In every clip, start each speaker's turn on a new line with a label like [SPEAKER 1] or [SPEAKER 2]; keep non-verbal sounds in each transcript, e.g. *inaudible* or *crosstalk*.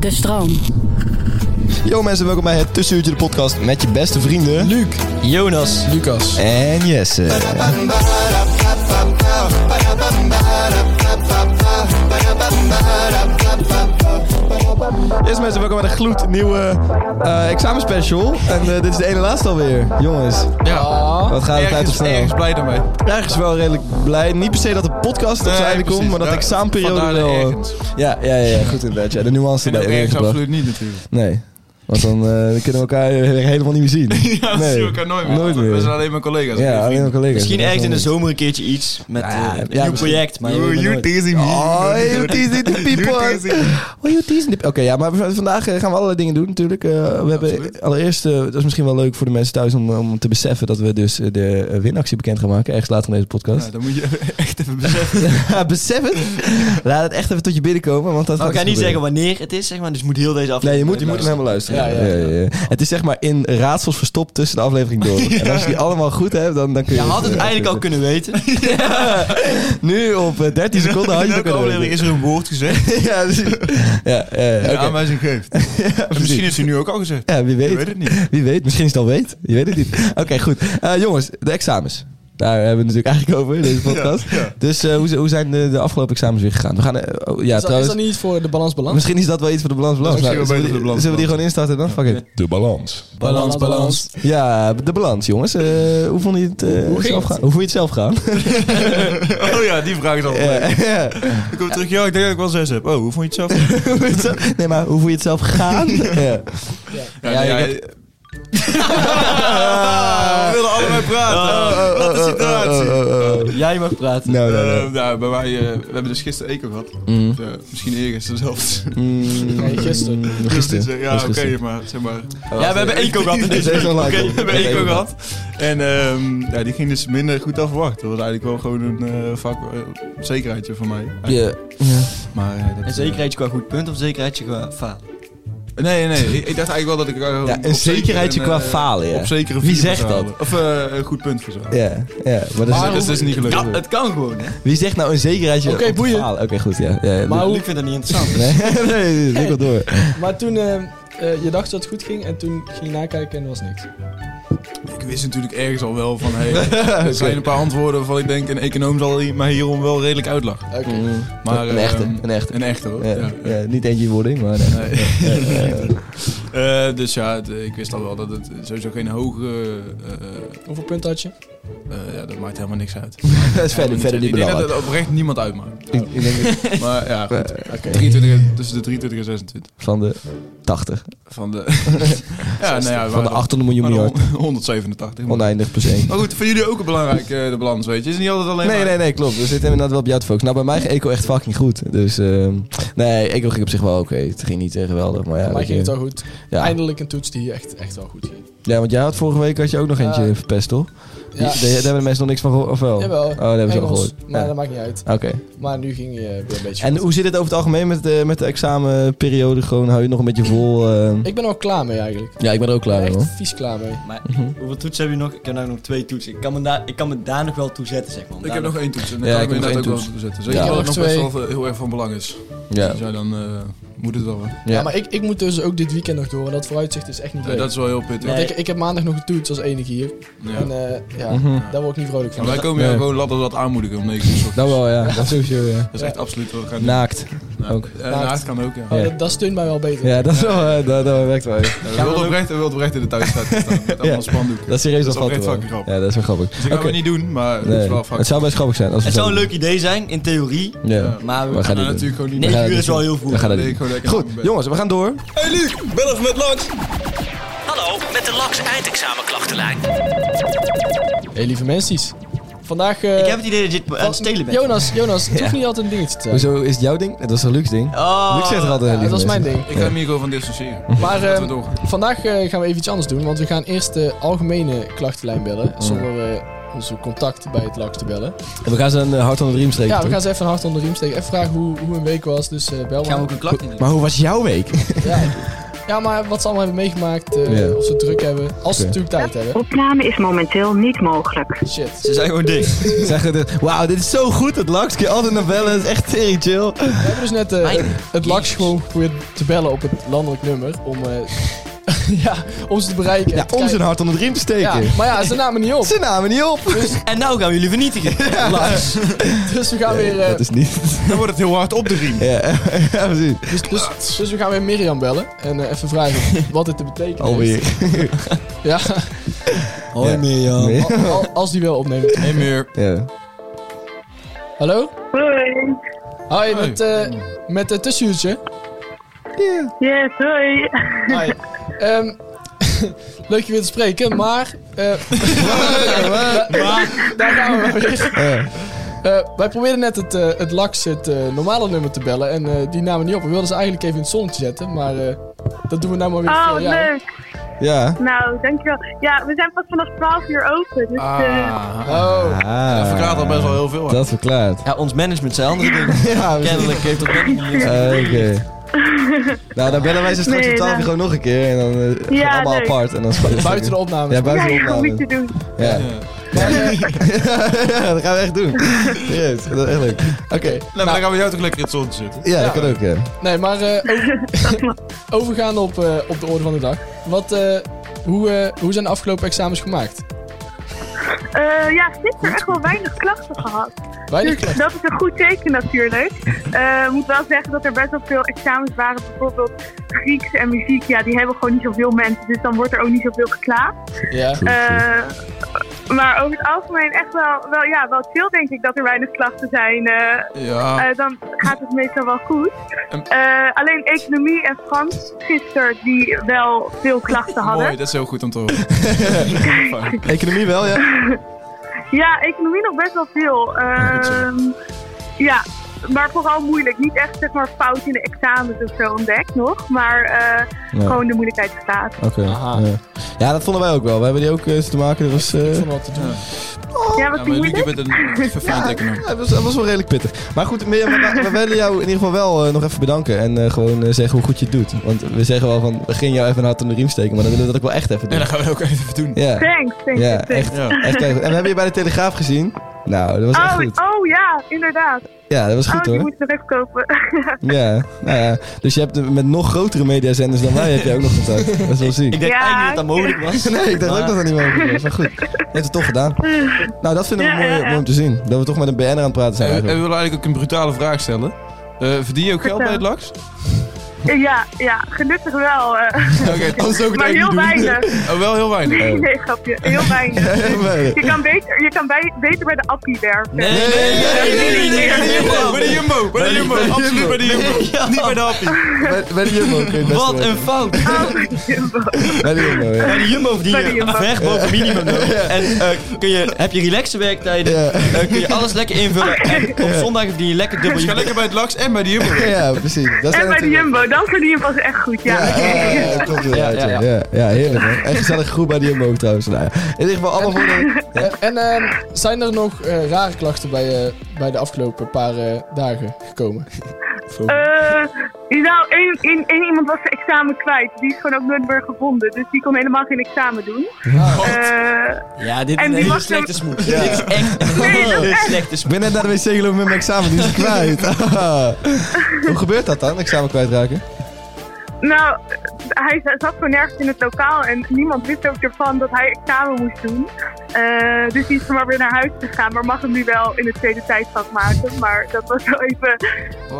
[SPEAKER 1] De stroom.
[SPEAKER 2] Yo mensen, welkom bij het Tussenuurtje de podcast met je beste vrienden... Luc, Jonas
[SPEAKER 3] Lucas.
[SPEAKER 2] en Jesse. Yes mensen, welkom bij de gloednieuwe eh examenspecial. En eh, dit is de ene laatste alweer. Jongens,
[SPEAKER 3] Ja.
[SPEAKER 2] Wat gaat het
[SPEAKER 3] ergens,
[SPEAKER 2] uit of snel?
[SPEAKER 3] Ergens blij daarmee.
[SPEAKER 2] ergens wel redelijk blij. Niet per se dat de podcast op
[SPEAKER 3] Nee,
[SPEAKER 2] zijn einde
[SPEAKER 3] precies.
[SPEAKER 2] komt, maar dat de
[SPEAKER 3] Ja,
[SPEAKER 2] examenperiode
[SPEAKER 3] vandaar de
[SPEAKER 2] wel... eh,
[SPEAKER 3] ergens.
[SPEAKER 2] Ja, ja, ja, ja, goed inderdaad. Ja, de nuance
[SPEAKER 3] En ook
[SPEAKER 2] erbij
[SPEAKER 3] ergens
[SPEAKER 2] ingebracht.
[SPEAKER 3] absoluut niet natuurlijk.
[SPEAKER 2] Nee, want dan eh, dan kunnen we elkaar helemaal niet *laughs* meer zien.
[SPEAKER 3] *laughs* Ja, dat
[SPEAKER 2] Nee,
[SPEAKER 3] zien we elkaar nooit meer.
[SPEAKER 2] nooit meer.
[SPEAKER 3] We zijn alleen maar collega's.
[SPEAKER 2] Ja, alleen mijn collega's.
[SPEAKER 4] Misschien
[SPEAKER 2] Dat is
[SPEAKER 4] ergens in de
[SPEAKER 2] wel leuk.
[SPEAKER 4] zomer een keertje iets met eh,
[SPEAKER 2] Ja,
[SPEAKER 4] een
[SPEAKER 2] ja,
[SPEAKER 4] nieuw
[SPEAKER 2] misschien.
[SPEAKER 4] project. Maar je weet maar nooit.
[SPEAKER 3] teasing
[SPEAKER 2] Oh, you teasing the people. Oh, you teasing the- Oké, ja, maar v- vandaag eh, gaan we allerlei dingen doen natuurlijk. Eh, we hebben
[SPEAKER 3] Absoluut.
[SPEAKER 2] allereerst, eh, dat is misschien wel leuk voor de mensen thuis om, eh, om te beseffen dat we dus eh, de eh, winactie bekend gaan maken. Ergens later in deze podcast.
[SPEAKER 3] Nou, dan moet je *laughs* echt even
[SPEAKER 2] *laughs*
[SPEAKER 3] beseffen.
[SPEAKER 2] Besef het. Laat het echt even tot je binnenkomen, want dat
[SPEAKER 4] Maar
[SPEAKER 2] gaat
[SPEAKER 4] we gaan niet
[SPEAKER 2] gebeuren.
[SPEAKER 4] zeggen wanneer het is, zeg maar. Dus moet heel deze
[SPEAKER 2] Nee, je
[SPEAKER 4] aflevering.
[SPEAKER 2] moet, je moet hem helemaal luisteren.
[SPEAKER 4] Ja, ja, ja.
[SPEAKER 2] Het is zeg maar in raadsels verstopt tussen de aflevering *laughs* door. En als je die allemaal goed hebt, dan, dan kun je...
[SPEAKER 4] Je had het
[SPEAKER 2] eh,
[SPEAKER 4] eigenlijk al kunnen weten.
[SPEAKER 2] Nu op
[SPEAKER 4] *laughs*
[SPEAKER 2] eh, 13 seconden had
[SPEAKER 4] In
[SPEAKER 2] *laughs* je het
[SPEAKER 4] elke
[SPEAKER 2] kunnen
[SPEAKER 4] aflevering is er een woord gezegd.
[SPEAKER 2] weten. *laughs* Ja, precies.
[SPEAKER 4] *laughs*
[SPEAKER 2] Ja, eh,
[SPEAKER 3] De
[SPEAKER 2] oké. *laughs*
[SPEAKER 3] aanwijzing geeft. En
[SPEAKER 2] precies.
[SPEAKER 3] misschien heeft hij nu ook al
[SPEAKER 2] *laughs*
[SPEAKER 3] gezegd.
[SPEAKER 2] Ja, wie
[SPEAKER 3] Je
[SPEAKER 2] weet.
[SPEAKER 3] weet het niet.
[SPEAKER 2] Wie weet, misschien is het al weet. Je weet het niet.
[SPEAKER 3] *laughs*
[SPEAKER 2] Oké, goed. Eh, jongens, de examens. Daar hebben we het natuurlijk eigenlijk over in deze podcast.
[SPEAKER 3] *laughs* Ja, ja.
[SPEAKER 2] Dus eh, hoe, z- hoe zijn de, de afgelopen examens weer gegaan? We gaan, eh, oh, ja,
[SPEAKER 5] Is dat, is
[SPEAKER 2] trouwens,
[SPEAKER 5] dat niet voor de balansbalans?
[SPEAKER 2] misschien is dat wel iets voor de balans. balans.
[SPEAKER 3] Dat is misschien wel
[SPEAKER 2] zullen, we
[SPEAKER 3] beter
[SPEAKER 2] die-
[SPEAKER 3] voor de
[SPEAKER 2] zullen we die
[SPEAKER 3] balans.
[SPEAKER 2] gewoon instarten dan? Fuck it.
[SPEAKER 6] De balans.
[SPEAKER 5] Balans, balans.
[SPEAKER 2] Ja, de balans, jongens. Eh, hoe vond je het eh,
[SPEAKER 5] ging
[SPEAKER 2] zelf
[SPEAKER 5] het?
[SPEAKER 2] gaan? Hoe vond je het zelf gaan?
[SPEAKER 3] Oh ja, die vraag is al leuk.
[SPEAKER 2] Eh, *laughs* ja.
[SPEAKER 3] Ik kom terug. Ja, ik denk dat ik wel zes heb. Oh, hoe vond je het zelf?
[SPEAKER 2] Hoe vond je het zelf- nee, maar hoe vond je het zelf
[SPEAKER 3] *laughs*
[SPEAKER 2] gaan? *laughs* ja.
[SPEAKER 3] Ja, nee,
[SPEAKER 2] ik
[SPEAKER 3] ja,
[SPEAKER 4] Ah,
[SPEAKER 3] we willen allebei
[SPEAKER 2] Oh.
[SPEAKER 3] praten. Wat is de situatie? oh.
[SPEAKER 4] Jij mag praten.
[SPEAKER 2] Nou, nou, nou.
[SPEAKER 3] Eh, nou, bij mij, eh, we hebben dus gisteren Eco gehad.
[SPEAKER 2] Hm?
[SPEAKER 3] Eh, misschien eergisteren zelfs.
[SPEAKER 2] Mm,
[SPEAKER 5] Nee, gisteren.
[SPEAKER 2] Gisteren.
[SPEAKER 3] *laughs* Ja,
[SPEAKER 2] Dat is
[SPEAKER 3] oké,
[SPEAKER 2] gisteren.
[SPEAKER 3] maar zeg maar.
[SPEAKER 2] Oh,
[SPEAKER 4] Ja, we hebben
[SPEAKER 2] *laughs*
[SPEAKER 4] Eco gehad in
[SPEAKER 2] Deze
[SPEAKER 4] deze
[SPEAKER 2] is wel
[SPEAKER 3] Oké,
[SPEAKER 2] leuk.
[SPEAKER 3] we
[SPEAKER 2] *laughs*
[SPEAKER 3] hebben Eco gehad. En ehm, ja, die ging dus minder goed dan verwacht. Dat was eigenlijk wel gewoon een eh, vak, eh, zekerheidje voor mij.
[SPEAKER 2] Ja. Ja.
[SPEAKER 3] Maar, eh, dat, eh,
[SPEAKER 4] Een zekerheidje qua goed punt of een zekerheidje qua falen?
[SPEAKER 3] Nee, nee, ik, ik dacht eigenlijk wel dat ik... eh, op
[SPEAKER 2] een
[SPEAKER 3] zeker
[SPEAKER 2] zekerheidje qua
[SPEAKER 3] eh,
[SPEAKER 2] falen, ja.
[SPEAKER 3] Op zekere
[SPEAKER 2] Wie
[SPEAKER 3] vier
[SPEAKER 2] zegt
[SPEAKER 3] moet halen.
[SPEAKER 2] dat?
[SPEAKER 3] Of eh, een goed punt voor zou halen.
[SPEAKER 2] Ja, ja. Maar dat
[SPEAKER 3] Dus, dat
[SPEAKER 2] is,
[SPEAKER 3] is dus niet gelukt.
[SPEAKER 4] Ja, het kan gewoon, hè.
[SPEAKER 2] wie zegt nou een zekerheidje?
[SPEAKER 5] Oké,
[SPEAKER 2] om te
[SPEAKER 5] boeien.
[SPEAKER 2] falen? Oké, goed, ja. ja, ja.
[SPEAKER 5] Maar,
[SPEAKER 4] Ik
[SPEAKER 5] hoe,
[SPEAKER 4] vind dat niet interessant. *laughs*
[SPEAKER 2] *laughs* nee, nee, nee, ik wil door.
[SPEAKER 5] maar toen, eh, eh, je dacht dat het goed ging en toen ging je nakijken en er was niks.
[SPEAKER 3] Ik wist natuurlijk ergens al wel van...
[SPEAKER 2] *laughs*
[SPEAKER 3] Hey, er zijn een paar antwoorden waarvan ik denk... Een econoom zal hier- mij hierom wel redelijk uitlachen.
[SPEAKER 5] Oké.
[SPEAKER 3] Maar,
[SPEAKER 2] Mm. een echte,
[SPEAKER 3] ehm,
[SPEAKER 2] een echte.
[SPEAKER 3] Een echte, hoor.
[SPEAKER 2] Ja,
[SPEAKER 3] ja.
[SPEAKER 2] ja, niet eentje in wording, maar...
[SPEAKER 3] *laughs*
[SPEAKER 2] nee.
[SPEAKER 3] Nee. *laughs* Eh, dus ja, het- ik wist al wel dat het sowieso geen hoge... eh,
[SPEAKER 5] Hoeveel punten had je?
[SPEAKER 3] eh, ja, dat maakt helemaal niks uit.
[SPEAKER 2] dat is verder, verder niet
[SPEAKER 3] Ik denk dat
[SPEAKER 2] belangrijk.
[SPEAKER 3] het oprecht niemand
[SPEAKER 2] *laughs*
[SPEAKER 3] uitmaakt.
[SPEAKER 2] Ik, ik denk dat-
[SPEAKER 3] Maar
[SPEAKER 2] *laughs*
[SPEAKER 3] ja, goed.
[SPEAKER 2] Oké.
[SPEAKER 3] 23, en- tussen de 23 en 26.
[SPEAKER 2] Van de 80.
[SPEAKER 3] Van de,
[SPEAKER 2] *laughs*
[SPEAKER 3] ja, nou ja,
[SPEAKER 2] Van de
[SPEAKER 3] we waren-
[SPEAKER 2] 800 miljoen
[SPEAKER 3] we waren
[SPEAKER 2] miljard.
[SPEAKER 3] 187. Maar
[SPEAKER 2] Oneindig per se.
[SPEAKER 3] goed, voor jullie ook een belangrijk eh, de balans, weet je. Het is niet altijd alleen
[SPEAKER 2] Nee,
[SPEAKER 3] maar-
[SPEAKER 2] nee, nee, klopt. We zitten inderdaad wel op jouw focus. Nou, bij mij ging Eco echt fucking goed. Dus, ehm, nee, Eco ging op zich wel oké. Het ging niet eh, geweldig, maar ja.
[SPEAKER 5] Voor mij
[SPEAKER 2] weet
[SPEAKER 5] ging
[SPEAKER 2] je.
[SPEAKER 5] het wel goed.
[SPEAKER 2] ja.
[SPEAKER 5] Eindelijk een toets die echt, echt wel goed ging.
[SPEAKER 2] ja, want jij had vorige week had je ook nog eentje
[SPEAKER 5] Ja.
[SPEAKER 2] verpest, toch? Die-
[SPEAKER 5] Ja,
[SPEAKER 2] Daar daar hebben de mensen nog niks van gehoord, of wel?
[SPEAKER 5] jawel.
[SPEAKER 2] Oh, dat hebben ze al
[SPEAKER 5] Engels,
[SPEAKER 2] gehoord.
[SPEAKER 5] Maar
[SPEAKER 2] Ja.
[SPEAKER 5] dat maakt niet uit.
[SPEAKER 2] Oké.
[SPEAKER 5] Maar nu ging je weer een beetje
[SPEAKER 2] En
[SPEAKER 5] goed.
[SPEAKER 2] hoe zit het over het algemeen met de, met de examenperiode? Gewoon hou je het nog een beetje vol? eh?
[SPEAKER 5] Ik ben er al klaar mee eigenlijk.
[SPEAKER 2] Ja, ik ben er ook klaar mee,
[SPEAKER 5] echt
[SPEAKER 2] hoor.
[SPEAKER 5] vies klaar mee.
[SPEAKER 4] Maar hoeveel toetsen heb je nog? Ik heb nou nog twee toetsen. Ik kan me daar, ik kan me daar nog wel toe zetten, zeg maar. Om
[SPEAKER 3] Ik
[SPEAKER 4] daar
[SPEAKER 3] heb nog één toets en daar
[SPEAKER 2] Ja,
[SPEAKER 3] kan ik
[SPEAKER 2] ik
[SPEAKER 3] me
[SPEAKER 2] heb nog
[SPEAKER 3] inderdaad ook
[SPEAKER 2] één
[SPEAKER 3] wel toe zetten. Zeker
[SPEAKER 2] Ja.
[SPEAKER 3] dat
[SPEAKER 5] Ik
[SPEAKER 3] het
[SPEAKER 5] heb
[SPEAKER 3] nog
[SPEAKER 5] nog
[SPEAKER 3] best
[SPEAKER 5] twee.
[SPEAKER 3] wel heel erg van belang is.
[SPEAKER 2] Ja.
[SPEAKER 3] Dus ja, dan eh, moet het wel. hè.
[SPEAKER 2] Ja.
[SPEAKER 5] Ja. maar ik, ik moet dus ook dit weekend nog door en dat vooruitzicht is echt niet
[SPEAKER 3] Nee,
[SPEAKER 5] leuk.
[SPEAKER 3] dat is wel heel pittig.
[SPEAKER 4] Nee.
[SPEAKER 5] Want ik, ik heb maandag nog een toets als enige hier.
[SPEAKER 3] Ja.
[SPEAKER 5] En eh, ja,
[SPEAKER 2] Mhm.
[SPEAKER 5] daar word ik niet vrolijk
[SPEAKER 3] Maar
[SPEAKER 5] van.
[SPEAKER 3] wij komen jou
[SPEAKER 2] Nee.
[SPEAKER 3] gewoon ladders wat aanmoedigen om negen uur. 's ochtends.
[SPEAKER 2] Dat wel, ja.
[SPEAKER 5] sowieso, ja.
[SPEAKER 3] Dat is echt absoluut wat we gaan doen.
[SPEAKER 2] Naakt. ook.
[SPEAKER 3] Eh, naakt kan ook, ja.
[SPEAKER 5] Oh,
[SPEAKER 2] Ja.
[SPEAKER 5] dat, dat steunt mij wel beter.
[SPEAKER 2] Ja, dat, is wel, eh, dat, dat werkt wel. even.
[SPEAKER 3] Ja, Wild oprecht, Wild oprecht in de thuisstraat gaan staan. Met allemaal spandoeken.
[SPEAKER 2] Dat is serieus
[SPEAKER 3] Dat
[SPEAKER 2] wel
[SPEAKER 3] is oprecht
[SPEAKER 2] grappig.
[SPEAKER 3] fucking
[SPEAKER 2] wel.
[SPEAKER 3] grappig.
[SPEAKER 2] Ja, dat is wel grappig.
[SPEAKER 3] Dus ik ga
[SPEAKER 2] Oké.
[SPEAKER 3] het niet doen, maar het is
[SPEAKER 2] Nee,
[SPEAKER 3] wel fucking...
[SPEAKER 2] het zou best grappig zijn. Als we
[SPEAKER 4] Het zou een
[SPEAKER 2] zo-
[SPEAKER 4] leuk idee zijn, in theorie.
[SPEAKER 5] Eh,
[SPEAKER 2] Ja.
[SPEAKER 4] Maar
[SPEAKER 2] We
[SPEAKER 4] we
[SPEAKER 2] gaan dit
[SPEAKER 3] Nou,
[SPEAKER 2] doen.
[SPEAKER 3] natuurlijk gewoon niet.
[SPEAKER 2] We gaan
[SPEAKER 4] 9 uur
[SPEAKER 2] dit
[SPEAKER 4] is wel
[SPEAKER 2] doen.
[SPEAKER 4] heel
[SPEAKER 2] We
[SPEAKER 4] vroeg.
[SPEAKER 2] gaan dit
[SPEAKER 3] Nee,
[SPEAKER 2] doen.
[SPEAKER 3] ik gewoon lekker
[SPEAKER 2] Goed,
[SPEAKER 3] naar bed.
[SPEAKER 2] jongens, we gaan door.
[SPEAKER 6] Hallo, met de LAX eindexamenklachtenlijn.
[SPEAKER 5] Hey, lieve mensies. Vandaag... eh,
[SPEAKER 4] Ik heb het idee dat je dit aan het stelen bent.
[SPEAKER 5] Jonas, Jonas, het hoeft niet altijd een dingetje te zijn.
[SPEAKER 2] Hoezo is het jouw ding? Het was een luxe ding.
[SPEAKER 4] Oh.
[SPEAKER 2] Luc zegt er altijd
[SPEAKER 5] Ah, Ja,
[SPEAKER 2] een
[SPEAKER 5] dat
[SPEAKER 2] lieve
[SPEAKER 5] was mijn
[SPEAKER 2] mensen.
[SPEAKER 5] ding.
[SPEAKER 3] Ik ga hem hier gewoon van distancieren.
[SPEAKER 5] Maar
[SPEAKER 3] Laten we
[SPEAKER 5] eh,
[SPEAKER 3] doorgaan.
[SPEAKER 5] vandaag eh, gaan we even iets anders doen. Want we gaan eerst de algemene klachtenlijn bellen. Zonder eh, onze contact bij het LAX te bellen.
[SPEAKER 2] En we gaan ze een eh, hard onder de riem steken.
[SPEAKER 5] Ja, we
[SPEAKER 2] toch?
[SPEAKER 5] gaan ze even een hart onder de riem steken. Even vragen hoe, hoe hun week was. Dus eh, bel
[SPEAKER 4] Gaan we
[SPEAKER 5] maar.
[SPEAKER 4] ook een klacht in doen?
[SPEAKER 2] Maar hoe was jouw week?
[SPEAKER 5] Ja. ja, maar wat ze allemaal hebben meegemaakt. eh,
[SPEAKER 2] Ja.
[SPEAKER 5] Of ze druk hebben. Als ze
[SPEAKER 2] Oké.
[SPEAKER 5] natuurlijk tijd hebben.
[SPEAKER 7] Opname is momenteel niet mogelijk.
[SPEAKER 5] Shit.
[SPEAKER 4] Ze zijn gewoon dicht.
[SPEAKER 2] *laughs* Zeggen dit, wauw, dit is zo goed. Het laks kun je altijd naar bellen. Het is echt very chill.
[SPEAKER 5] We hebben dus net eh,
[SPEAKER 4] Mijn-
[SPEAKER 5] het LAX
[SPEAKER 4] Jezus.
[SPEAKER 5] gewoon geprobeerd te bellen op het landelijk nummer. Om, eh, *laughs* ja, om ze te bereiken. en
[SPEAKER 2] Ja,
[SPEAKER 5] te
[SPEAKER 2] om zijn
[SPEAKER 5] kijken.
[SPEAKER 2] hart onder de riem te
[SPEAKER 5] Ja,
[SPEAKER 2] steken.
[SPEAKER 5] maar ja, ze namen niet
[SPEAKER 2] *laughs*
[SPEAKER 5] op.
[SPEAKER 2] Ze namen niet op.
[SPEAKER 4] En nou gaan we jullie vernietigen. Lars.
[SPEAKER 5] Dus we
[SPEAKER 2] *laughs*
[SPEAKER 5] gaan weer... eh,
[SPEAKER 2] Dat is niet...
[SPEAKER 3] Dan wordt het heel hard op de riem.
[SPEAKER 2] Ja, *laughs* ja precies.
[SPEAKER 5] Dus, dus, dus we gaan weer Mirjam bellen en eh, even vragen *laughs* wat dit te betekenen heeft.
[SPEAKER 2] Alweer. Ja.
[SPEAKER 5] Ja, *laughs*
[SPEAKER 4] Hoi Mirjam.
[SPEAKER 2] Nee.
[SPEAKER 5] al- al- als die wil opnemen.
[SPEAKER 3] Hey meer.
[SPEAKER 2] Ja.
[SPEAKER 5] Hallo?
[SPEAKER 7] Hoi.
[SPEAKER 5] Hoi, met, eh met het tussenuurtje.
[SPEAKER 7] Yes, hoi.
[SPEAKER 5] Hi. Ehm, *laughs* leuk je weer te spreken, maar... eh, daar- daar gaan we weer. Eh, wij probeerden net het, eh, het LAX, het eh, normale nummer te bellen en eh, die namen niet op. We wilden ze eigenlijk even in het zonnetje zetten, maar eh, dat doen we nou maar weer
[SPEAKER 7] Oh,
[SPEAKER 5] voor jou.
[SPEAKER 7] leuk.
[SPEAKER 2] Ja.
[SPEAKER 7] Nou, dankjewel. Ja, we zijn pas vanaf 12 uur open. Dus, eh,
[SPEAKER 3] Ah,
[SPEAKER 5] Oh,
[SPEAKER 3] dat verklaart al best wel heel veel.
[SPEAKER 2] Eh, Dat verklaart.
[SPEAKER 4] Ja, ons management zijn andere dingen.
[SPEAKER 2] Ja, we-
[SPEAKER 4] Kennelijk heeft dat management niet eens-
[SPEAKER 2] Eh, Oké. *laughs* nou, dan bellen wij ze straks
[SPEAKER 7] Nee,
[SPEAKER 2] om 12 uur
[SPEAKER 7] nou.
[SPEAKER 2] gewoon nog een keer. En dan eh, gaan we
[SPEAKER 7] Ja,
[SPEAKER 2] allemaal
[SPEAKER 7] leuk.
[SPEAKER 2] apart. En dan
[SPEAKER 5] buiten de opnames.
[SPEAKER 2] Ja, buiten de
[SPEAKER 7] ja, goed
[SPEAKER 2] opname.
[SPEAKER 7] moet je doen.
[SPEAKER 2] Ja. Ja, *laughs* dat gaan we echt doen. Serieus, dat is echt leuk. Oké.
[SPEAKER 3] Nou, maar dan gaan we jou toch lekker in het zonnetje zitten.
[SPEAKER 2] Ja, dat kan ook, ja.
[SPEAKER 5] Nee, maar eh, over- overgaan op, eh, op de orde van de dag. Wat, eh, hoe, eh, hoe zijn de afgelopen examens gemaakt?
[SPEAKER 7] Eh, ja, gisteren echt wel weinig klachten
[SPEAKER 5] Ah,
[SPEAKER 7] gehad.
[SPEAKER 5] Weinig
[SPEAKER 7] Dus
[SPEAKER 5] klachten.
[SPEAKER 7] dat is een goed teken natuurlijk. Eh, Ik moet wel zeggen dat er best wel veel examens waren. Bijvoorbeeld Grieks en muziek. Ja, die hebben gewoon niet zoveel mensen. Dus dan wordt er ook niet zoveel geklaagd.
[SPEAKER 5] Ja.
[SPEAKER 7] Eh, maar over het algemeen echt wel, wel, ja, wel chill denk ik dat er weinig klachten zijn. eh,
[SPEAKER 3] Ja.
[SPEAKER 7] Eh, dan gaat het meestal wel goed.
[SPEAKER 3] En-
[SPEAKER 7] Eh, alleen economie en Frans gisteren die wel veel klachten hadden.
[SPEAKER 3] *laughs* Mooi, dat is heel goed om te horen. Fijn.
[SPEAKER 2] Economie wel, ja.
[SPEAKER 7] Ja, economie nog best wel veel. Ehm, ja, maar vooral moeilijk. Niet echt zeg maar fout in de examens of zo ontdekt nog. Maar eh,
[SPEAKER 2] Nee.
[SPEAKER 7] gewoon de moeilijkheidsgraad.
[SPEAKER 2] Oké.
[SPEAKER 5] Aha.
[SPEAKER 2] Ja. ja, dat vonden wij ook wel. We hebben die ook eh, te maken. Dat was, eh,
[SPEAKER 5] Ik vond wat te doen.
[SPEAKER 7] Ja, wat
[SPEAKER 3] Oh. Ja, maar Luc,
[SPEAKER 7] die
[SPEAKER 3] je
[SPEAKER 7] moeilijk?
[SPEAKER 3] bent een verfijnd econoom.
[SPEAKER 2] ja, dat was, dat was wel redelijk pittig. Maar goed, Mirjam, we, we willen jou in ieder geval wel eh, nog even bedanken. En eh, gewoon eh, zeggen hoe goed je het doet. Want we zeggen wel van, we gingen jou even een hart onder de riem steken. Maar dan willen we dat ook wel echt even
[SPEAKER 3] En
[SPEAKER 2] doen.
[SPEAKER 3] dan gaan we dat ook even doen.
[SPEAKER 2] Ja,
[SPEAKER 7] Thanks, thanks,
[SPEAKER 2] ja
[SPEAKER 7] thanks.
[SPEAKER 2] echt.
[SPEAKER 3] Ja.
[SPEAKER 2] Echt keigoed. En we hebben je bij de Telegraaf gezien. Nou, dat was echt
[SPEAKER 7] Oh,
[SPEAKER 2] goed.
[SPEAKER 7] oh ja, inderdaad.
[SPEAKER 2] Ja, dat was
[SPEAKER 7] oh,
[SPEAKER 2] goed
[SPEAKER 7] die
[SPEAKER 2] hoor.
[SPEAKER 7] moet ik nog even kopen.
[SPEAKER 2] Ja, nou ja. Dus je hebt eh, met nog grotere mediazenders dan wij heb je ook nog
[SPEAKER 7] *laughs*
[SPEAKER 2] contact. Dat is wel ziek.
[SPEAKER 4] Ik denk
[SPEAKER 7] Ja,
[SPEAKER 4] eigenlijk dat dat mogelijk was.
[SPEAKER 2] Nee, ik dacht ook dat dat niet mogelijk was. Maar goed, je hebt het toch gedaan. Nou, dat vinden we
[SPEAKER 7] Ja,
[SPEAKER 2] mooi,
[SPEAKER 7] ja, ja.
[SPEAKER 2] mooi om te zien. Dat we toch met een BN'er aan het praten zijn
[SPEAKER 3] En Eh, we, en
[SPEAKER 2] eigenlijk.
[SPEAKER 3] we willen eigenlijk ook een brutale vraag stellen. Eh, verdien je ook geld bij het LAX?
[SPEAKER 7] *laughs* ja, ja, gelukkig wel.
[SPEAKER 3] *laughs*
[SPEAKER 7] eh.
[SPEAKER 3] Oké, anders ook het
[SPEAKER 7] maar
[SPEAKER 3] echt
[SPEAKER 7] heel
[SPEAKER 3] niet doen.
[SPEAKER 7] weinig.
[SPEAKER 3] Oh, wel heel weinig.
[SPEAKER 7] Nee, grapje. Heel weinig.
[SPEAKER 2] Nee,
[SPEAKER 7] Je kan beter, je kan bij, beter bij de appie werken.
[SPEAKER 4] Nee, nee, nee, nee, nee, nee, nee,
[SPEAKER 3] Jumbo, bij de
[SPEAKER 4] nee,
[SPEAKER 3] Jumbo, bij de Jumbo. Absoluut bij de Jumbo.
[SPEAKER 4] Ja.
[SPEAKER 3] Niet bij de Happy.
[SPEAKER 2] bij- Eh, Bij de Jumbo kun je
[SPEAKER 4] nee.
[SPEAKER 2] het best
[SPEAKER 4] Wat
[SPEAKER 2] wel
[SPEAKER 4] een fout.
[SPEAKER 7] Oh,
[SPEAKER 2] doen. Bij de Jumbo, ja.
[SPEAKER 4] Bij de Jumbo verdien
[SPEAKER 7] Bij de
[SPEAKER 4] je
[SPEAKER 7] Jumbo.
[SPEAKER 4] ver boven minimum. En eh, kun je, heb je relaxe werktijden,
[SPEAKER 2] Ja.
[SPEAKER 4] eh, kun je alles lekker invullen. En op zondag verdien je lekker dubbel
[SPEAKER 3] Dus
[SPEAKER 4] je
[SPEAKER 3] ga lekker bij het LAX en bij de Jumbo.
[SPEAKER 2] Ja, precies. Dat zijn
[SPEAKER 7] En bij
[SPEAKER 2] natuurlijk-
[SPEAKER 7] de
[SPEAKER 2] Ah,
[SPEAKER 7] Jumbo, dan verdien je pas echt goed. Ja,
[SPEAKER 2] Ja, ja, ja, ja, klopt inderdaad, ja,
[SPEAKER 4] Ja, ja,
[SPEAKER 2] ja. Ja, heerlijk man. En gezellig groep bij de Jumbo ook trouwens. Nou, ja. In ieder geval allemaal voor de... Ja.
[SPEAKER 5] En ehm, zijn er nog eh, rare klachten bij, eh, bij de afgelopen paar eh, dagen gekomen?
[SPEAKER 7] Eh, nou, één, één, één iemand was zijn examen kwijt. Die is gewoon ook nooit meer gevonden. Dus die kon helemaal geen examen doen. Eh,
[SPEAKER 4] Ja, dit is
[SPEAKER 7] En
[SPEAKER 4] een
[SPEAKER 7] die
[SPEAKER 4] hele
[SPEAKER 7] was
[SPEAKER 4] slechte
[SPEAKER 7] hem-
[SPEAKER 4] smoes. Dit is echt een
[SPEAKER 7] Nee, dat is
[SPEAKER 4] hele
[SPEAKER 7] echt-
[SPEAKER 4] slechte
[SPEAKER 2] Ik
[SPEAKER 4] smoes.
[SPEAKER 2] ben net naar de wc gelopen *laughs*
[SPEAKER 5] *laughs*
[SPEAKER 2] met mijn examen, die is kwijt. Hoe gebeurt dat dan, examen kwijtraken?
[SPEAKER 7] Nou, hij za- zat gewoon nergens in het lokaal en niemand wist ook ervan dat hij examen moest doen. Eh, dus die is maar weer naar huis gegaan, maar mag hem nu wel in het tweede tijdvak maken. Maar dat was wel even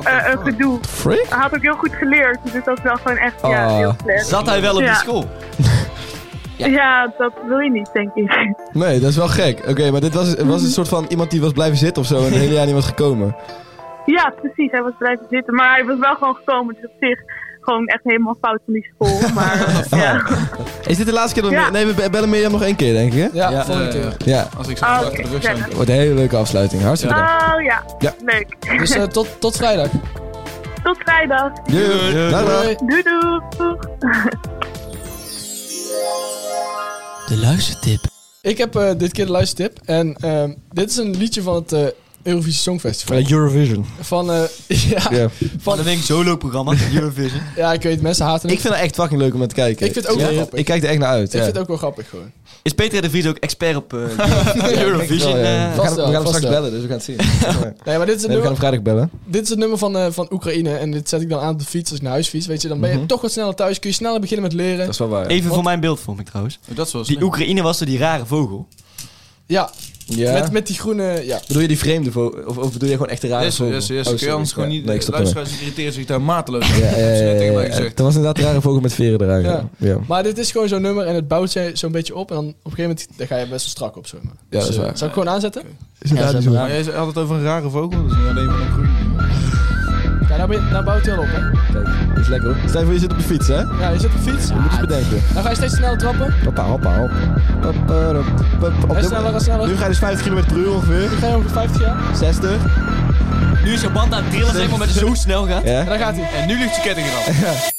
[SPEAKER 7] eh, een gedoe.
[SPEAKER 2] Freak?
[SPEAKER 7] Hij had ook heel goed geleerd, dus dat was wel gewoon echt ja,
[SPEAKER 2] Ah.
[SPEAKER 7] heel slecht.
[SPEAKER 4] Zat hij wel op
[SPEAKER 7] Ja.
[SPEAKER 4] die school?
[SPEAKER 7] Ja. dat wil je niet, denk ik. *laughs*
[SPEAKER 2] Nee, dat is wel gek. Oké, maar dit was, was een soort van iemand die was blijven zitten of zo en het hele jaar niet was gekomen.
[SPEAKER 7] Ja, precies. Hij was blijven zitten, maar hij was wel gewoon gekomen. Dus op zich gewoon echt helemaal fout van die school. Maar eh, ja.
[SPEAKER 2] Is dit de laatste keer dat we...
[SPEAKER 7] Ja.
[SPEAKER 2] Nee, we be- bellen Mirjam nog één keer, denk ik, hè?
[SPEAKER 5] Ja,
[SPEAKER 4] Ja,
[SPEAKER 5] volgende
[SPEAKER 3] eh,
[SPEAKER 5] keer.
[SPEAKER 2] Ja.
[SPEAKER 3] Als ik zo
[SPEAKER 7] Oh,
[SPEAKER 3] achter de rug
[SPEAKER 7] oké.
[SPEAKER 3] zijn.
[SPEAKER 2] Wordt een hele leuke afsluiting. Hartstikke leuk.
[SPEAKER 7] Oh ja,
[SPEAKER 2] Ja.
[SPEAKER 7] leuk.
[SPEAKER 5] Dus eh, tot, tot vrijdag.
[SPEAKER 7] Tot vrijdag.
[SPEAKER 2] Doei. Dag, dag.
[SPEAKER 5] Doei.
[SPEAKER 7] Doei doei.
[SPEAKER 4] De luistertip.
[SPEAKER 5] Ik heb eh, dit keer de luistertip. En ehm, dit is een liedje van het eh, Eurovisie Songfestival.
[SPEAKER 2] Eurovision.
[SPEAKER 5] Van, eh, *laughs* ja,
[SPEAKER 2] Ja.
[SPEAKER 4] Van een week solo-programma,
[SPEAKER 3] *laughs*
[SPEAKER 4] Eurovision.
[SPEAKER 5] ja, ik weet, mensen haten
[SPEAKER 2] Ik
[SPEAKER 5] het.
[SPEAKER 2] vind het echt fucking leuk om naar te kijken.
[SPEAKER 5] Ik vind het ook
[SPEAKER 2] Ja?
[SPEAKER 5] wel grappig.
[SPEAKER 2] Ik kijk er echt naar uit.
[SPEAKER 5] Ik
[SPEAKER 2] ja.
[SPEAKER 5] vind het ook wel grappig gewoon.
[SPEAKER 4] Is Peter de Vries ook expert op eh,
[SPEAKER 2] Wel,
[SPEAKER 4] Eurovision?
[SPEAKER 2] ja.
[SPEAKER 4] eh?
[SPEAKER 2] we gaan,
[SPEAKER 5] Vast
[SPEAKER 2] we
[SPEAKER 5] wel,
[SPEAKER 2] gaan hem
[SPEAKER 5] vast
[SPEAKER 2] straks
[SPEAKER 5] wel.
[SPEAKER 2] bellen, dus we gaan het zien.
[SPEAKER 5] *laughs*
[SPEAKER 2] Nee,
[SPEAKER 5] Nee, maar dit is het
[SPEAKER 2] we gaan
[SPEAKER 5] nummer,
[SPEAKER 2] hem vrijdag bellen.
[SPEAKER 5] dit is het nummer van, eh, van Oekraïne. En dit zet ik dan aan op de fiets als ik naar huis fiets. Weet je, dan ben je toch wat sneller thuis. Kun je sneller beginnen met leren.
[SPEAKER 2] Mhm. Dat is wel waar.
[SPEAKER 4] Even voor mijn beeldvorming trouwens.
[SPEAKER 3] Dat is wel
[SPEAKER 4] Die
[SPEAKER 3] slim.
[SPEAKER 4] Oekraïne was er die rare vogel.
[SPEAKER 5] Ja,
[SPEAKER 2] Ja.
[SPEAKER 5] Met, met die groene... Ja.
[SPEAKER 2] Bedoel je die vreemde vogel? Of, of bedoel je gewoon echt de rare
[SPEAKER 3] Yes,
[SPEAKER 2] vogel?
[SPEAKER 3] yes,
[SPEAKER 2] Oh,
[SPEAKER 3] yes. Kun
[SPEAKER 2] sorry.
[SPEAKER 3] je anders gewoon
[SPEAKER 2] Ja,
[SPEAKER 3] niet... eh,
[SPEAKER 2] Nee, ik stop ermee.
[SPEAKER 3] luisteraars irriteren zich daar mateloos aan.
[SPEAKER 2] Ja,
[SPEAKER 3] Dat
[SPEAKER 2] ja,
[SPEAKER 3] *laughs* is net
[SPEAKER 2] ja,
[SPEAKER 3] tegen
[SPEAKER 2] ja,
[SPEAKER 3] mij
[SPEAKER 2] ja.
[SPEAKER 3] gezegd.
[SPEAKER 2] Het was inderdaad een rare vogel met veren eraan. Ja, ja.
[SPEAKER 5] Maar dit is gewoon zo'n nummer en het bouwt zij zo'n beetje op. En dan op een gegeven moment daar ga je best wel strak op. Zeg maar.
[SPEAKER 2] Ja, dat is
[SPEAKER 5] eh,
[SPEAKER 2] waar.
[SPEAKER 5] Zal ik gewoon aanzetten?
[SPEAKER 2] Is inderdaad niet zo.
[SPEAKER 3] Maar jij had het over een rare vogel, dus niet alleen maar een groen.
[SPEAKER 5] Ja, nou, ben je, nou bouwt hij al op, hè?
[SPEAKER 2] Kijk, dat is lekker hoor. Stel je voor je zit op de fiets, hè?
[SPEAKER 5] Ja, je zit op de fiets.
[SPEAKER 2] Moet je eens bedenken.
[SPEAKER 5] Dan ga je steeds sneller trappen.
[SPEAKER 2] Hoppa, hoppa, hop. Hop, eh, hop, hop. Op
[SPEAKER 5] En
[SPEAKER 2] dit-
[SPEAKER 5] sneller en sneller.
[SPEAKER 2] Nu ga je dus 50 km per uur ongeveer.
[SPEAKER 5] Dan ga je over 50 jaar.
[SPEAKER 2] 60.
[SPEAKER 4] Nu is je band aan het trillen, zeg maar, met *laughs* het zo snel gaat.
[SPEAKER 5] En
[SPEAKER 2] Ja.
[SPEAKER 5] dan gaat hij.
[SPEAKER 3] En nu ligt je ketting eraf.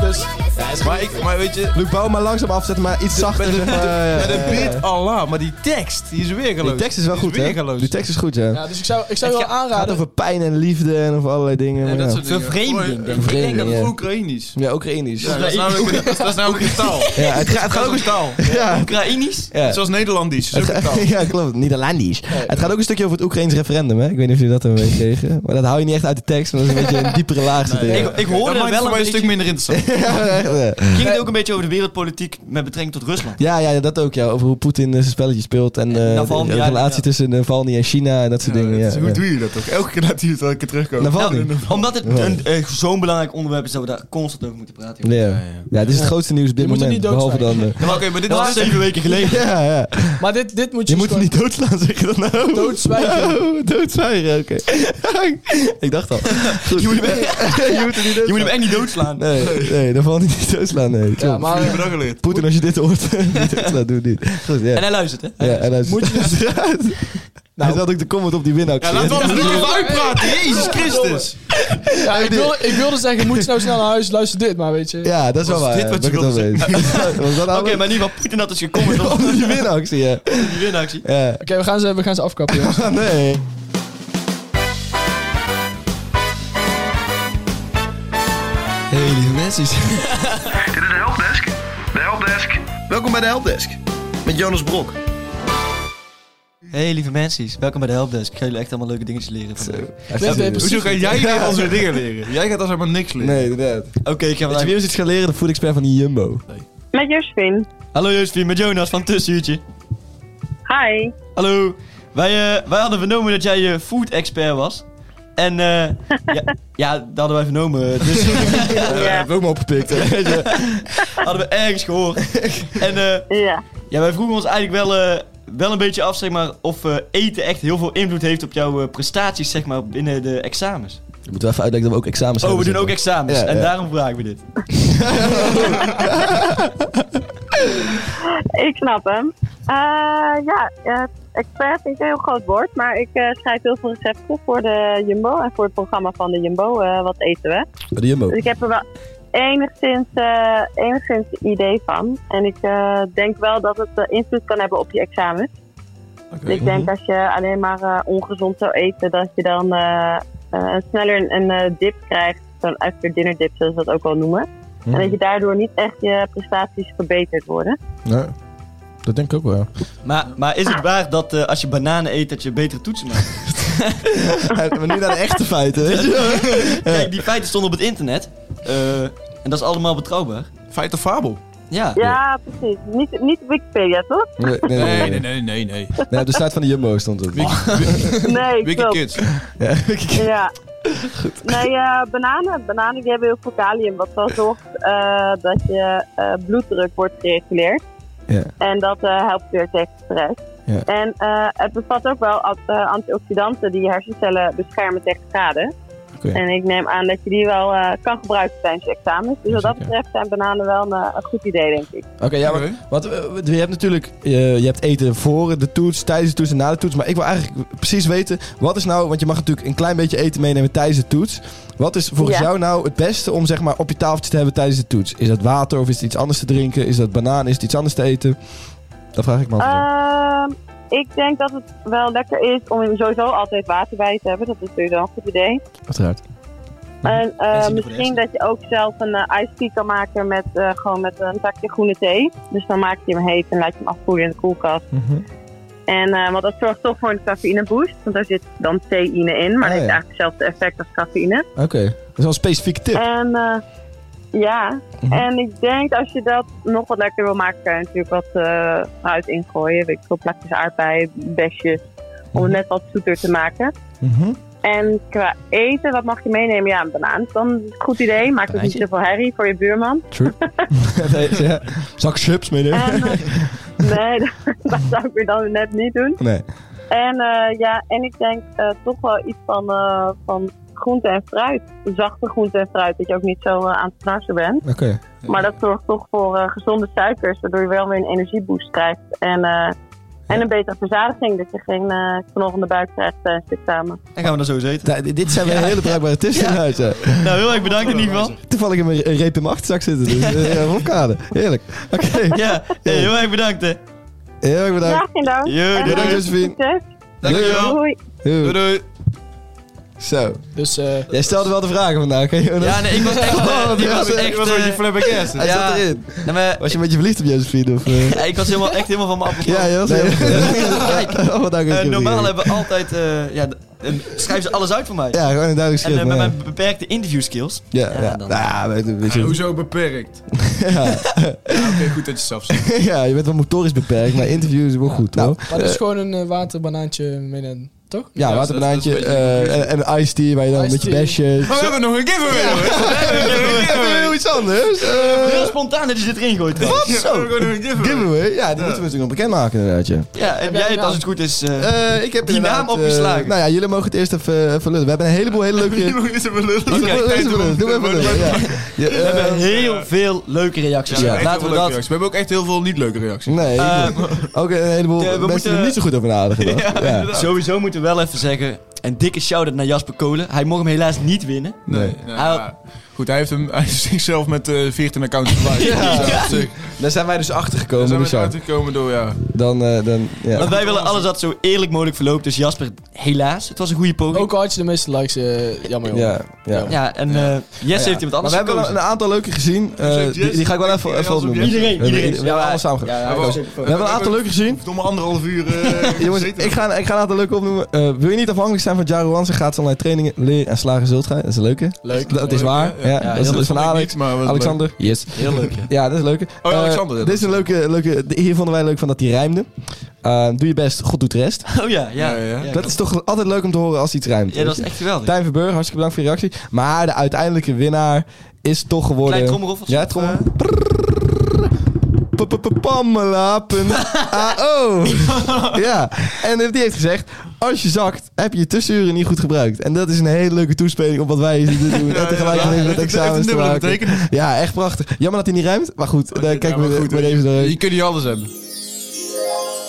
[SPEAKER 5] Dus
[SPEAKER 3] Maar, ik, maar weet je,
[SPEAKER 2] Luc, bouw hem maar langzaam afzetten, maar iets zachter. zeg maar. Ja, ja,
[SPEAKER 3] met een
[SPEAKER 2] ja, ja.
[SPEAKER 3] beat Allah, maar die tekst, die is weer
[SPEAKER 2] Die tekst is wel goed, hè? Die tekst is goed, ja.
[SPEAKER 5] Ja, dus ik zou, ik zou je wel
[SPEAKER 2] Het gaat
[SPEAKER 5] aanraden.
[SPEAKER 2] over pijn en liefde en over allerlei dingen. maar ja.
[SPEAKER 4] Vervreemding. denk ik.
[SPEAKER 3] Ik denk dat
[SPEAKER 2] Vervreemding,
[SPEAKER 3] het
[SPEAKER 2] ja.
[SPEAKER 3] Oekraïnisch.
[SPEAKER 2] Ja, Oekraïnisch.
[SPEAKER 3] Ja, dat is
[SPEAKER 4] nou
[SPEAKER 3] namelijk een- dat is namelijk een taal.
[SPEAKER 2] Ja, het gaat, het gaat
[SPEAKER 3] Dat
[SPEAKER 2] ook
[SPEAKER 3] is een taal.
[SPEAKER 2] Ja.
[SPEAKER 4] Oekraïnisch?
[SPEAKER 2] *laughs* Ja.
[SPEAKER 3] Zoals Nederlandisch. Dat
[SPEAKER 2] Het
[SPEAKER 3] is ook een
[SPEAKER 2] ga- *laughs*
[SPEAKER 3] taal.
[SPEAKER 2] ja, klopt. Nederlandisch. Het gaat ook een stukje over het Oekraïns referendum, hè? Ik weet niet of jullie dat hebben meegekregen. Maar dat hou je niet echt uit de tekst, maar dat is een beetje een diepere laag zit erin.
[SPEAKER 4] Ik, ik hoorde
[SPEAKER 3] Dat maakt het
[SPEAKER 4] wel
[SPEAKER 3] voor
[SPEAKER 4] een,
[SPEAKER 3] mij een stuk
[SPEAKER 4] beetje,
[SPEAKER 3] minder interessant.
[SPEAKER 2] Ja, echt, ja.
[SPEAKER 4] ging het ook een beetje over de wereldpolitiek met betrekking tot Rusland.
[SPEAKER 2] ja, ja, dat ook, ja. Over hoe Poetin eh, zijn spelletje speelt en eh, de,
[SPEAKER 4] Navalny, ja,
[SPEAKER 2] relatie
[SPEAKER 4] ja.
[SPEAKER 2] tussen Navalny en China en dat soort dingen. *laughs* Ja,
[SPEAKER 3] Dus Hoe
[SPEAKER 2] ja.
[SPEAKER 3] doe je dat toch? Elke keer laat hij het wel een keer terugkomen.
[SPEAKER 2] Navalny.
[SPEAKER 4] Nou, *laughs* omdat het een, eh, zo'n belangrijk onderwerp is dat we daar constant over moeten praten. joh.
[SPEAKER 2] Ja. Ja, dit is het grootste nieuws op dit
[SPEAKER 5] Je moet er
[SPEAKER 2] moment.
[SPEAKER 5] niet dood
[SPEAKER 2] Behalve dan. eh,
[SPEAKER 3] Ja, maar Oké, maar dit
[SPEAKER 4] Dat was dus
[SPEAKER 3] was
[SPEAKER 4] zeven weken *laughs* geleden.
[SPEAKER 2] ja, ja.
[SPEAKER 5] Maar dit, dit moet je,
[SPEAKER 2] Je
[SPEAKER 5] dus
[SPEAKER 2] moet hem
[SPEAKER 5] gewoon-
[SPEAKER 2] niet doodslaan, zeg je dat nou? *laughs*
[SPEAKER 5] Doodzwijgen.
[SPEAKER 2] Oh, doodzwijgen, oké. *laughs* ik dacht al. Goed.
[SPEAKER 4] Je moet hem echt-
[SPEAKER 2] je moet hem niet
[SPEAKER 4] je moet hem echt
[SPEAKER 2] doodslaan.
[SPEAKER 4] niet *laughs* doodslaan.
[SPEAKER 2] Nee, nee, dan valt hij niet doodslaan, nee.
[SPEAKER 5] Ja,
[SPEAKER 2] klopt.
[SPEAKER 5] maar eh,
[SPEAKER 3] hebben we geleerd.
[SPEAKER 2] Poetin, als je dit hoort, *laughs* niet doodslaan, doe het niet. Goed, ja.
[SPEAKER 4] En hij luistert, hè?
[SPEAKER 2] ja, en *laughs* hij moet je Nou. Hij zat ook de comment op die winactie.
[SPEAKER 3] Ja, laten we anders even uitpraten. Jezus Christus.
[SPEAKER 5] ja, ik, wilde, ik wilde zeggen, moet je nou snel naar huis, luister dit, maar weet je.
[SPEAKER 2] Ja, dat is wel
[SPEAKER 4] Was
[SPEAKER 2] waar.
[SPEAKER 4] dit
[SPEAKER 2] ja,
[SPEAKER 4] wat je
[SPEAKER 2] ben ik
[SPEAKER 4] wilde
[SPEAKER 2] het wel mee eens. *laughs* Was dat
[SPEAKER 4] Oké,
[SPEAKER 2] nou
[SPEAKER 4] maar in ieder geval, Poetin had dus gekomen
[SPEAKER 2] *laughs*
[SPEAKER 4] tot
[SPEAKER 2] Onder die winactie, ja.
[SPEAKER 4] die winactie.
[SPEAKER 2] Ja.
[SPEAKER 5] Oké, we gaan ze, we gaan ze afkappen. jongens.
[SPEAKER 2] Ah, Nee.
[SPEAKER 4] Hey, lieve mensen.
[SPEAKER 8] Dit is de helpdesk. De helpdesk. Welkom bij de helpdesk. Met Jonas Brok.
[SPEAKER 4] Hey, lieve mensen. Welkom bij de helpdesk. Ik ga jullie echt allemaal leuke dingetjes leren vandaag. Oké,
[SPEAKER 5] Dit is
[SPEAKER 2] Hoezo-
[SPEAKER 5] precies-
[SPEAKER 3] Hoezo ga jij weer al zo'n dingen
[SPEAKER 4] *laughs*
[SPEAKER 3] leren? Jij gaat als helemaal niks leren.
[SPEAKER 2] Nee, inderdaad.
[SPEAKER 4] ik ga
[SPEAKER 2] Als je
[SPEAKER 4] vandaag...
[SPEAKER 2] weer eens iets gaan leren, de food expert van die Jumbo.
[SPEAKER 7] Met Josephine.
[SPEAKER 4] Hallo Josephine, met Jonas van Tussenuurtje.
[SPEAKER 7] Hi.
[SPEAKER 4] Hallo. Wij, eh, wij hadden vernomen dat jij je food expert was. En eh, ja, ja, dat hadden wij vernomen. Dus
[SPEAKER 2] Ja, heb ik ook maar opgepikt. *laughs* hè.
[SPEAKER 4] hadden we ergens gehoord. En eh,
[SPEAKER 7] Ja.
[SPEAKER 4] ja, wij vroegen ons eigenlijk wel, eh, wel een beetje af, zeg maar, of eh, eten echt heel veel invloed heeft op jouw eh, prestaties, zeg maar, binnen de examens.
[SPEAKER 2] Je moet wel even uitleggen dat we ook examens
[SPEAKER 4] Oh, we
[SPEAKER 2] hebben
[SPEAKER 4] doen ook
[SPEAKER 2] zitten.
[SPEAKER 4] examens.
[SPEAKER 2] Ja,
[SPEAKER 4] en
[SPEAKER 2] ja.
[SPEAKER 4] daarom vragen we dit.
[SPEAKER 7] Ik snap hem. Eh, ja, eh, expert vind ik een heel groot woord, maar ik eh, schrijf heel veel recepten voor de Jumbo en voor het programma van de Jumbo, eh, Wat Eten We.
[SPEAKER 2] Bij de Jumbo.
[SPEAKER 7] Dus ik heb er wel enigszins, eh enigszins idee van. En ik eh, denk wel dat het eh, invloed kan hebben op je examen. Dus ik denk als je alleen maar eh, ongezond zou eten, dat je dan eh, eh, sneller een, een, eh, dip krijgt. Zo'n after dinner dip, zoals we dat ook wel noemen. En dat je daardoor niet echt je prestaties verbeterd worden.
[SPEAKER 2] Ja. Dat denk ik ook wel, *laughs* ja.
[SPEAKER 4] Maar, maar is het waar dat eh, als je bananen eet, dat je betere toetsen maakt?
[SPEAKER 2] maar nu naar de echte feiten, *laughs* weet je wel.
[SPEAKER 4] Kijk, die feiten stonden op het internet. eh, en dat is allemaal betrouwbaar.
[SPEAKER 3] Feit of fabel?
[SPEAKER 4] Ja.
[SPEAKER 7] Ja, precies. Niet, niet Wikipedia, toch?
[SPEAKER 2] Nee, nee, nee. nee,
[SPEAKER 3] Nee, nee, nee, nee. nee.
[SPEAKER 2] Nee, op de site van de Jumbo stond het.
[SPEAKER 7] Nee,
[SPEAKER 3] Wiki
[SPEAKER 7] klopt.
[SPEAKER 3] Kids.
[SPEAKER 2] *laughs*
[SPEAKER 7] Ja. Nee, eh, bananen, bananen die hebben heel veel kalium, wat wel zorgt eh, dat je eh, bloeddruk wordt gereguleerd.
[SPEAKER 2] Ja.
[SPEAKER 7] En dat eh, helpt weer tegen stress.
[SPEAKER 2] Ja.
[SPEAKER 7] En eh, het bevat ook wel ant- eh, antioxidanten die je hersencellen beschermen tegen schade.
[SPEAKER 2] Oké.
[SPEAKER 7] En ik neem aan dat je die wel eh, kan gebruiken tijdens je examens. Dus wat dat
[SPEAKER 2] Jazeker.
[SPEAKER 7] betreft zijn bananen wel een, eh, een goed idee, denk ik.
[SPEAKER 2] Oké, ja, maar
[SPEAKER 3] Oké.
[SPEAKER 2] want, eh, je hebt natuurlijk eh, je hebt eten voor de toets, tijdens de toets en na de toets. Maar ik wil eigenlijk precies weten, wat is nou... Want je mag natuurlijk een klein beetje eten meenemen tijdens de toets. Wat is volgens
[SPEAKER 7] Ja.
[SPEAKER 2] jou nou het beste om zeg maar, op je tafeltje te hebben tijdens de toets? Is dat water of is het iets anders te drinken? Is dat banaan? Is het iets anders te eten? Dat vraag ik me af.
[SPEAKER 7] Ehm, ik denk dat het wel lekker is om sowieso altijd water bij je te hebben. Dat is sowieso een goed idee.
[SPEAKER 2] Uiteraard.
[SPEAKER 7] En eh,
[SPEAKER 4] zien de
[SPEAKER 7] misschien dat je ook zelf een eh, iced tea kan maken met eh, gewoon met een zakje groene thee. Dus dan maak je hem heet en laat je hem afkoelen in de koelkast. En, eh, want dat zorgt toch voor een cafeïne boost. Want daar zit dan theïne in. Maar
[SPEAKER 2] Ah,
[SPEAKER 7] dat heeft
[SPEAKER 2] ja.
[SPEAKER 7] eigenlijk hetzelfde effect als cafeïne.
[SPEAKER 2] Oké, dat is wel een specifieke *laughs* tip.
[SPEAKER 7] En eh, ja, en ik denk als je dat nog wat lekker wil maken, kan je natuurlijk wat eh fruit ingooien. Weet ik veel, plakjes aardbeien, besjes. Om het net wat zoeter te maken.
[SPEAKER 2] Mhm.
[SPEAKER 7] En qua eten, wat mag je meenemen? Ja, een banaan. is Dan een goed idee. Maakt ook niet
[SPEAKER 2] Banaantje.
[SPEAKER 7] zoveel herrie voor je buurman.
[SPEAKER 2] True. nee, ja. Zak chips meenemen?
[SPEAKER 7] En, eh, nee, *laughs* dat, dat zou ik weer dan net niet doen.
[SPEAKER 2] Nee.
[SPEAKER 7] En eh, ja, en ik denk eh, toch wel iets van, eh, van groente en fruit. Zachte groente en fruit, dat je ook niet zo eh, aan het knarsen bent.
[SPEAKER 2] Oké.
[SPEAKER 7] Maar dat zorgt toch voor eh, gezonde suikers, waardoor je wel weer een energieboost krijgt. En, eh, en een betere verzadiging, dat je geen eh knorrende buik krijgt eh, tijdens het examen.
[SPEAKER 4] Dan gaan we dat sowieso eten.
[SPEAKER 2] Da- dit- Dit zijn weer hele bruikbare tips in huis. hè.
[SPEAKER 4] Nou, heel erg bedankt in ieder geval.
[SPEAKER 2] Toevallig in mijn een reep in mijn achterzak zitten. Dus eh, rondkade. Heerlijk. Oké.
[SPEAKER 4] Ja, hey, heel erg bedankt hè.
[SPEAKER 2] Heel erg
[SPEAKER 7] Ja,
[SPEAKER 2] bedankt.
[SPEAKER 7] geen dank.
[SPEAKER 4] Jo,
[SPEAKER 7] En,
[SPEAKER 4] doei,
[SPEAKER 2] Bedankt,
[SPEAKER 7] eh,
[SPEAKER 2] Josephine.
[SPEAKER 7] succes.
[SPEAKER 3] Dankjewel.
[SPEAKER 7] Doei.
[SPEAKER 2] Heel
[SPEAKER 3] Doei
[SPEAKER 2] goed.
[SPEAKER 3] doei.
[SPEAKER 2] Zo.
[SPEAKER 5] Dus eh,
[SPEAKER 2] Jij stelde wel de vragen vandaag, hè Jonas?
[SPEAKER 4] Ja, nee, ik was echt... eh, ik was
[SPEAKER 2] was-
[SPEAKER 4] echt...
[SPEAKER 3] Ik was een
[SPEAKER 4] eh,
[SPEAKER 3] beetje flabbergast.
[SPEAKER 2] Hij
[SPEAKER 4] ja.
[SPEAKER 2] zat erin.
[SPEAKER 4] nou, maar-
[SPEAKER 2] Was je een beetje verliefd op Josephine? Of, *laughs* eh?
[SPEAKER 4] Ja, ik was helemaal, echt helemaal van mijn appel.
[SPEAKER 2] Ja, Jos. *laughs*
[SPEAKER 4] Nee,
[SPEAKER 2] Nee. oh, wat dank
[SPEAKER 4] eh,
[SPEAKER 2] ik je
[SPEAKER 4] normaal
[SPEAKER 2] vriendin.
[SPEAKER 4] hebben we altijd... eh, ja, d- en schrijven ze alles uit voor mij.
[SPEAKER 2] Ja, gewoon een duidelijk
[SPEAKER 4] en
[SPEAKER 2] schrift.
[SPEAKER 4] eh, met
[SPEAKER 2] maar
[SPEAKER 4] mijn beperkte interview skills.
[SPEAKER 2] Ja, Ah, ja.
[SPEAKER 4] Ja, dan-
[SPEAKER 2] Ja, weet je, weet je-
[SPEAKER 3] Hoezo beperkt? Ja. Oké, goed dat je
[SPEAKER 2] *laughs*
[SPEAKER 3] zelf zegt.
[SPEAKER 2] *laughs* ja, je bent wel motorisch beperkt, maar interviews is wel goed, hoor.
[SPEAKER 5] maar dat is gewoon een eh, waterbanaantje meenemen, toch?
[SPEAKER 2] Nou. Ja,
[SPEAKER 3] Ja, dat-
[SPEAKER 2] waterbanaantje
[SPEAKER 3] dat is een
[SPEAKER 2] eh, en, en een iced tea waar je dan een
[SPEAKER 5] Iced
[SPEAKER 2] beetje
[SPEAKER 5] tea.
[SPEAKER 2] besjes...
[SPEAKER 3] Maar we hebben nog een giveaway hoor. We
[SPEAKER 2] Heel iets anders. Eh,
[SPEAKER 4] Heel spontaan dat je dit erin gooit. Wat? Zo.
[SPEAKER 3] hebben nog een giveaway.
[SPEAKER 2] Giveaway? Ja, die moeten we natuurlijk nog bekendmaken inderdaad, ja.
[SPEAKER 4] Ja, en
[SPEAKER 5] jij
[SPEAKER 4] jij het
[SPEAKER 5] nou-
[SPEAKER 4] als het goed is... eh,
[SPEAKER 2] Eh, ik heb
[SPEAKER 4] Die
[SPEAKER 2] inderdaad,
[SPEAKER 4] naam
[SPEAKER 2] eh,
[SPEAKER 4] opgeslagen.
[SPEAKER 2] nou ja, jullie mogen het eerst even, eh, even lullen. We hebben een heleboel hele *laughs* leuke...
[SPEAKER 3] Nog eens even lullen.
[SPEAKER 2] Doe
[SPEAKER 3] Oké,
[SPEAKER 2] even
[SPEAKER 3] tijd
[SPEAKER 2] lullen,
[SPEAKER 3] om-
[SPEAKER 2] doe even
[SPEAKER 4] *laughs*
[SPEAKER 2] lullen, ja. Ja,
[SPEAKER 4] we
[SPEAKER 2] eh,
[SPEAKER 4] hebben heel veel leuke reacties.
[SPEAKER 3] Ja, we hebben echt
[SPEAKER 4] Laten
[SPEAKER 3] heel
[SPEAKER 4] we
[SPEAKER 3] leuke
[SPEAKER 4] dat...
[SPEAKER 3] reacties. We hebben ook echt heel veel niet leuke reacties.
[SPEAKER 2] Nee,
[SPEAKER 4] Eh,
[SPEAKER 2] ook een heleboel
[SPEAKER 4] ja, we
[SPEAKER 2] mensen die er
[SPEAKER 4] moeten-
[SPEAKER 2] niet zo goed over nadenken. dan. Ja,
[SPEAKER 4] Sowieso moeten we wel even zeggen... Een dikke shout-out naar Jasper Kolen. Hij mocht hem helaas niet winnen.
[SPEAKER 3] Nee.
[SPEAKER 2] Nee.
[SPEAKER 3] nee,
[SPEAKER 4] Hij-
[SPEAKER 3] maar Goed, hij heeft, hem, hij heeft zichzelf met eh
[SPEAKER 2] *laughs*
[SPEAKER 3] 14 accounts verwijderd.
[SPEAKER 2] Ja.
[SPEAKER 3] Dus dat is, eh,
[SPEAKER 2] Daar zijn wij dus achter
[SPEAKER 3] Daar
[SPEAKER 2] gekomen.
[SPEAKER 3] zijn we
[SPEAKER 2] dus ja,
[SPEAKER 3] eruit gekomen door, ja.
[SPEAKER 2] dan, eh, dan, ja.
[SPEAKER 4] Want wij willen alles dat zo eerlijk mogelijk verloopt. Dus Jasper, helaas, het was een goede poging.
[SPEAKER 5] Ook al had je de meeste likes, eh, jammer
[SPEAKER 2] Ja,
[SPEAKER 5] joh.
[SPEAKER 2] ja.
[SPEAKER 4] Ja, en eh Jesse heeft iemand
[SPEAKER 2] Maar
[SPEAKER 4] anders
[SPEAKER 2] we hebben wel een aantal leuke gezien. eh,
[SPEAKER 3] Jesse,
[SPEAKER 2] die, die ga ik wel even, even
[SPEAKER 3] Jesse,
[SPEAKER 2] opnoemen.
[SPEAKER 4] Iedereen,
[SPEAKER 2] We hebben,
[SPEAKER 4] iedereen.
[SPEAKER 2] we hebben
[SPEAKER 4] Ja,
[SPEAKER 2] alles
[SPEAKER 4] ja,
[SPEAKER 2] samen gedaan.
[SPEAKER 4] ja,
[SPEAKER 2] we,
[SPEAKER 4] ja.
[SPEAKER 2] hebben een aantal leuke gezien.
[SPEAKER 3] Verdomme anderhalf
[SPEAKER 2] *laughs*
[SPEAKER 3] uur. eh,
[SPEAKER 2] Jongens,
[SPEAKER 3] gezeten.
[SPEAKER 2] ik ga, ik ga een aantal leuke opnoemen. Eh, wil je niet afhankelijk zijn van Jaro Hansen? Gaat ze online trainingen leren en slagen zult gij. Dat is een leuke.
[SPEAKER 5] Leuk.
[SPEAKER 2] Dat is waar. Ja,
[SPEAKER 4] heel
[SPEAKER 2] dat is- dat
[SPEAKER 4] leuk.
[SPEAKER 2] is van
[SPEAKER 3] Ik
[SPEAKER 2] Alex.
[SPEAKER 3] niet, maar wat
[SPEAKER 2] Alexander? Yes.
[SPEAKER 4] Heel leuk, ja.
[SPEAKER 2] Ja, dat is een leuke.
[SPEAKER 3] Oh, ja,
[SPEAKER 2] Eh,
[SPEAKER 3] Alexander, ja,
[SPEAKER 2] dit is een leuke, leuke... de- Hier vonden wij leuk van dat die rijmde. Eh, doe je best, God doet de rest.
[SPEAKER 4] Oh ja, ja.
[SPEAKER 3] Ja, ja.
[SPEAKER 4] ja.
[SPEAKER 2] dat is toch altijd leuk om te horen als iets rijmt.
[SPEAKER 4] Ja, dat is echt geweldig.
[SPEAKER 2] Tijn Verburg, hartstikke bedankt voor je reactie. Maar de uiteindelijke winnaar is toch geworden...
[SPEAKER 4] Klein trommelroffeltje.
[SPEAKER 2] Ja, trommel. Pa- pa- pa- Pamela.ao Ja, en eh, die heeft gezegd... Als je zakt, heb je je tussenuren niet goed gebruikt. En dat is een hele leuke toespeling op wat wij hier zitten doen. en tegelijkertijd
[SPEAKER 3] ja.
[SPEAKER 2] met
[SPEAKER 3] Het heeft een
[SPEAKER 2] examens te
[SPEAKER 3] dubbele
[SPEAKER 2] maken.
[SPEAKER 3] betekenis.
[SPEAKER 2] Ja, echt prachtig. Jammer dat hij niet ruimt. Maar goed, daar
[SPEAKER 3] Ja,
[SPEAKER 2] kijken
[SPEAKER 3] maar
[SPEAKER 2] we
[SPEAKER 3] goed,
[SPEAKER 2] goed, maar
[SPEAKER 3] weet
[SPEAKER 2] even
[SPEAKER 3] Eh, Je
[SPEAKER 2] doorheen.
[SPEAKER 3] kunt niet alles hebben.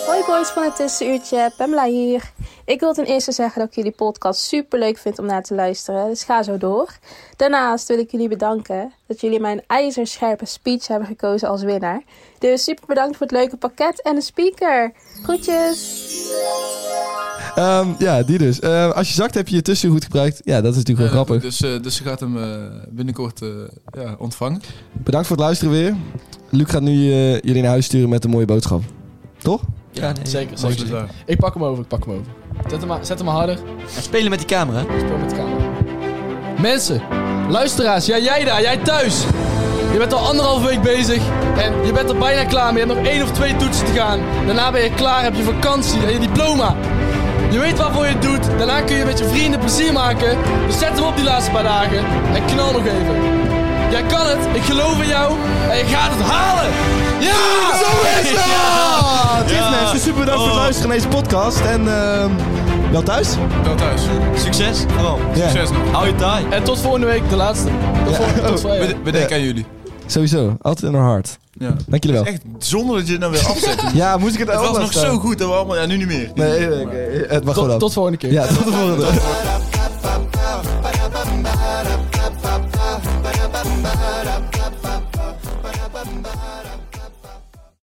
[SPEAKER 9] Hoi boys van het tussenuurtje, Pamela hier. Ik wil ten eerste zeggen dat ik jullie podcast super leuk vind om naar te luisteren, dus ga zo door. Daarnaast wil ik jullie bedanken dat jullie mijn ijzerscherpe speech hebben gekozen als winnaar. Dus super bedankt voor het leuke pakket en de speaker. Groetjes!
[SPEAKER 2] Ehm, ja, die dus. Ehm, als je zakt, heb je je tussenuur goed gebruikt. Ja, dat is natuurlijk wel grappig.
[SPEAKER 3] Dus, eh, dus ze gaat hem eh, binnenkort eh, ja, ontvangen.
[SPEAKER 2] Bedankt voor het luisteren weer. Luc gaat nu eh, jullie naar huis sturen met een mooie boodschap. Toch?
[SPEAKER 5] Ja, zeker.
[SPEAKER 3] dat is
[SPEAKER 5] zeker.
[SPEAKER 3] waar.
[SPEAKER 5] Ik pak hem over, ik pak hem over. Zet hem, maar- zet hem maar harder.
[SPEAKER 4] En spelen met die camera.
[SPEAKER 5] Speel met de camera. Mensen, luisteraars, ja, jij daar, jij thuis. Je bent al anderhalf week bezig en je bent er bijna klaar mee. Je hebt nog één of twee toetsen te gaan. Daarna ben je klaar, heb je vakantie en je diploma. Je weet waarvoor je het doet. Daarna kun je met je vrienden plezier maken. Dus zet hem op die laatste paar dagen en knal nog even. Jij kan het, ik geloof in jou en je gaat het halen. Ja!
[SPEAKER 2] Zo is dat!
[SPEAKER 5] Ja!
[SPEAKER 2] Dit mensen, super bedankt voor het luisteren naar deze podcast. En ehm, wel thuis?
[SPEAKER 3] Wel thuis.
[SPEAKER 4] Succes. Vooral.
[SPEAKER 2] Ja.
[SPEAKER 3] Succes nog.
[SPEAKER 4] Hou je taai.
[SPEAKER 5] En tot volgende week, de laatste. Tot volgende, tot vrijdag.
[SPEAKER 3] We, we denken aan jullie.
[SPEAKER 2] Sowieso, altijd in haar hart.
[SPEAKER 3] Ja.
[SPEAKER 2] Dank jullie wel.
[SPEAKER 3] Echt zonder dat je het nou weer
[SPEAKER 2] *laughs*
[SPEAKER 3] afzet. het
[SPEAKER 2] Ja, moest ik het
[SPEAKER 3] was
[SPEAKER 2] ook
[SPEAKER 3] nog
[SPEAKER 2] laten?
[SPEAKER 3] zo goed dat we allemaal... Ja, nu niet meer.
[SPEAKER 2] Nee, oké, het mag gewoon
[SPEAKER 5] Tot,
[SPEAKER 2] af.
[SPEAKER 5] tot volgende keer.
[SPEAKER 2] Ja, tot de volgende.